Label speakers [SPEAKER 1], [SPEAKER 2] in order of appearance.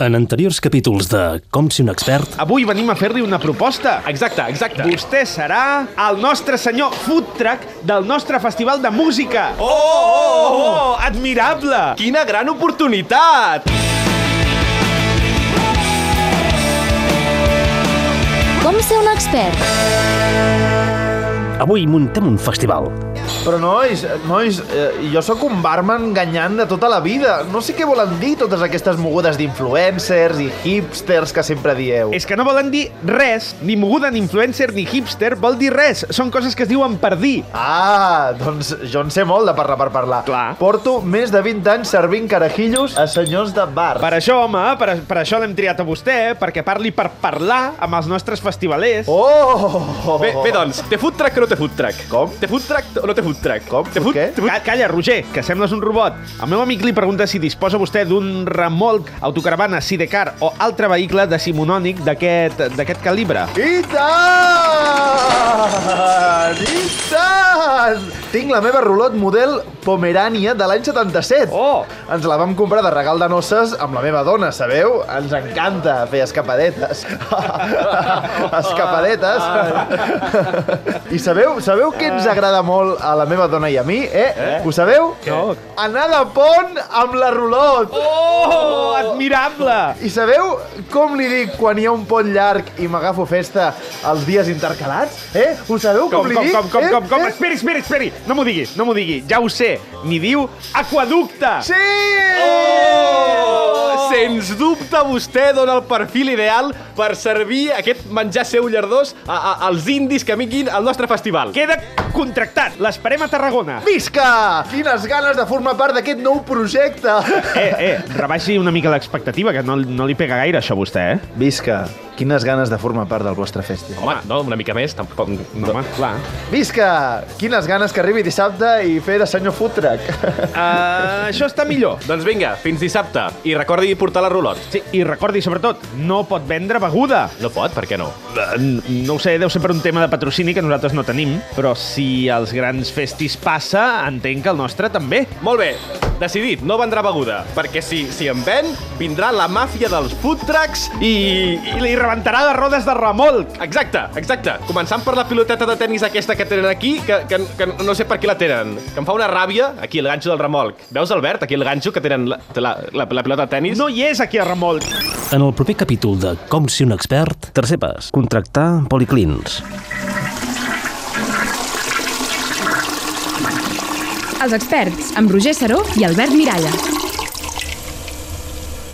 [SPEAKER 1] En anteriors capítols de Com si un expert,
[SPEAKER 2] Avui venim a fer-li una proposta. Exacte, exacte. Vostè serà el nostre senyor food truck del nostre festival de música. Oh, oh, oh, oh admirable!
[SPEAKER 3] Quina gran oportunitat!
[SPEAKER 4] Com ser un expert?
[SPEAKER 1] avui muntem un festival.
[SPEAKER 5] Però nois, nois, eh, jo sóc un barman enganyant de tota la vida. No sé què volen dir totes aquestes mogudes d'influencers i hipsters que sempre dieu.
[SPEAKER 2] És que no volen dir res, ni moguda, ni influencer, ni hipster, vol dir res. Són coses que es diuen per dir.
[SPEAKER 5] Ah, doncs jo en sé molt de parlar per parlar.
[SPEAKER 2] Clar.
[SPEAKER 5] Porto més de 20 anys servint carajillos a senyors de bar.
[SPEAKER 2] Per això, home, per, per això l'hem triat a vostè, perquè parli per parlar amb els nostres festivalers.
[SPEAKER 5] Oh!
[SPEAKER 3] Bé, bé, doncs, té food truck o no té food truck?
[SPEAKER 5] Com?
[SPEAKER 3] Té food truck o no té food truck?
[SPEAKER 5] Com?
[SPEAKER 3] Té food,
[SPEAKER 5] Food què?
[SPEAKER 3] Té food...
[SPEAKER 2] Ca- Calla, Roger, que sembles un robot. El meu amic li pregunta si disposa vostè d'un remolc, autocaravana, sidecar o altre vehicle decimonònic d'aquest d'aquest calibre.
[SPEAKER 5] I tant! I tant! Tinc la meva rulot model Pomerània de l'any 77.
[SPEAKER 2] Oh!
[SPEAKER 5] Ens la vam comprar de regal de noces amb la meva dona, sabeu? Ens encanta fer escapadetes. escapadetes. I sabeu, sabeu què ens agrada molt a la meva dona i a mi, eh? eh? Ho sabeu?
[SPEAKER 2] No.
[SPEAKER 5] Anar de pont amb la rulot.
[SPEAKER 2] Oh, admirable!
[SPEAKER 5] I sabeu com li dic quan hi ha un pont llarg i m'agafo festa els dies intercalats? Eh? Ho sabeu com,
[SPEAKER 2] Com,
[SPEAKER 5] li
[SPEAKER 2] com,
[SPEAKER 5] dic?
[SPEAKER 2] com, com,
[SPEAKER 5] eh?
[SPEAKER 2] com, com,
[SPEAKER 5] Eh?
[SPEAKER 2] esperi, esperi, esperi, no m'ho digui, no m'ho digui, ja ho sé, n'hi diu aquaducte!
[SPEAKER 5] Eh? Sí!
[SPEAKER 3] Oh! Sens dubte, vostè dona el perfil ideal per servir aquest menjar seu llardós a, a, als indis que amiguin al nostre festival.
[SPEAKER 2] Queda contractat, l'esperem a Tarragona.
[SPEAKER 5] Visca! Quines ganes de formar part d'aquest nou projecte!
[SPEAKER 2] Eh, eh, rebaixi una mica l'expectativa, que no, no li pega gaire això a vostè, eh?
[SPEAKER 5] Visca! Quines ganes de formar part del vostre festival.
[SPEAKER 3] Home, no, una mica més, tampoc... No.
[SPEAKER 2] Home, clar.
[SPEAKER 5] Visca! Quines ganes que arribi dissabte i fer de senyor food truck.
[SPEAKER 2] Uh, això està millor.
[SPEAKER 3] Doncs vinga, fins dissabte. I recordi portar la rulot.
[SPEAKER 2] Sí, i recordi, sobretot, no pot vendre beguda.
[SPEAKER 3] No pot, per què no?
[SPEAKER 2] Eh, No ho sé, deu ser per un tema de patrocini que nosaltres no tenim, però si als grans festis passa, entenc que el nostre també.
[SPEAKER 3] Molt bé, decidit, no vendrà beguda, perquè si, si en ven, vindrà la màfia dels food trucks i...
[SPEAKER 2] I li rebentarà les rodes de remolc.
[SPEAKER 3] Exacte, exacte. Començant per la piloteta de tennis aquesta que tenen aquí, que, que, que no sé per què la tenen. Que em fa una ràbia, aquí el ganxo del remolc. Veus, Albert, aquí el ganxo que tenen la, la, la, la pilota de tennis?
[SPEAKER 2] No hi és aquí a remolc.
[SPEAKER 1] En el proper capítol de Com si un expert, tercer pas, contractar policlins.
[SPEAKER 6] Els experts, amb Roger Saró i Albert Miralles.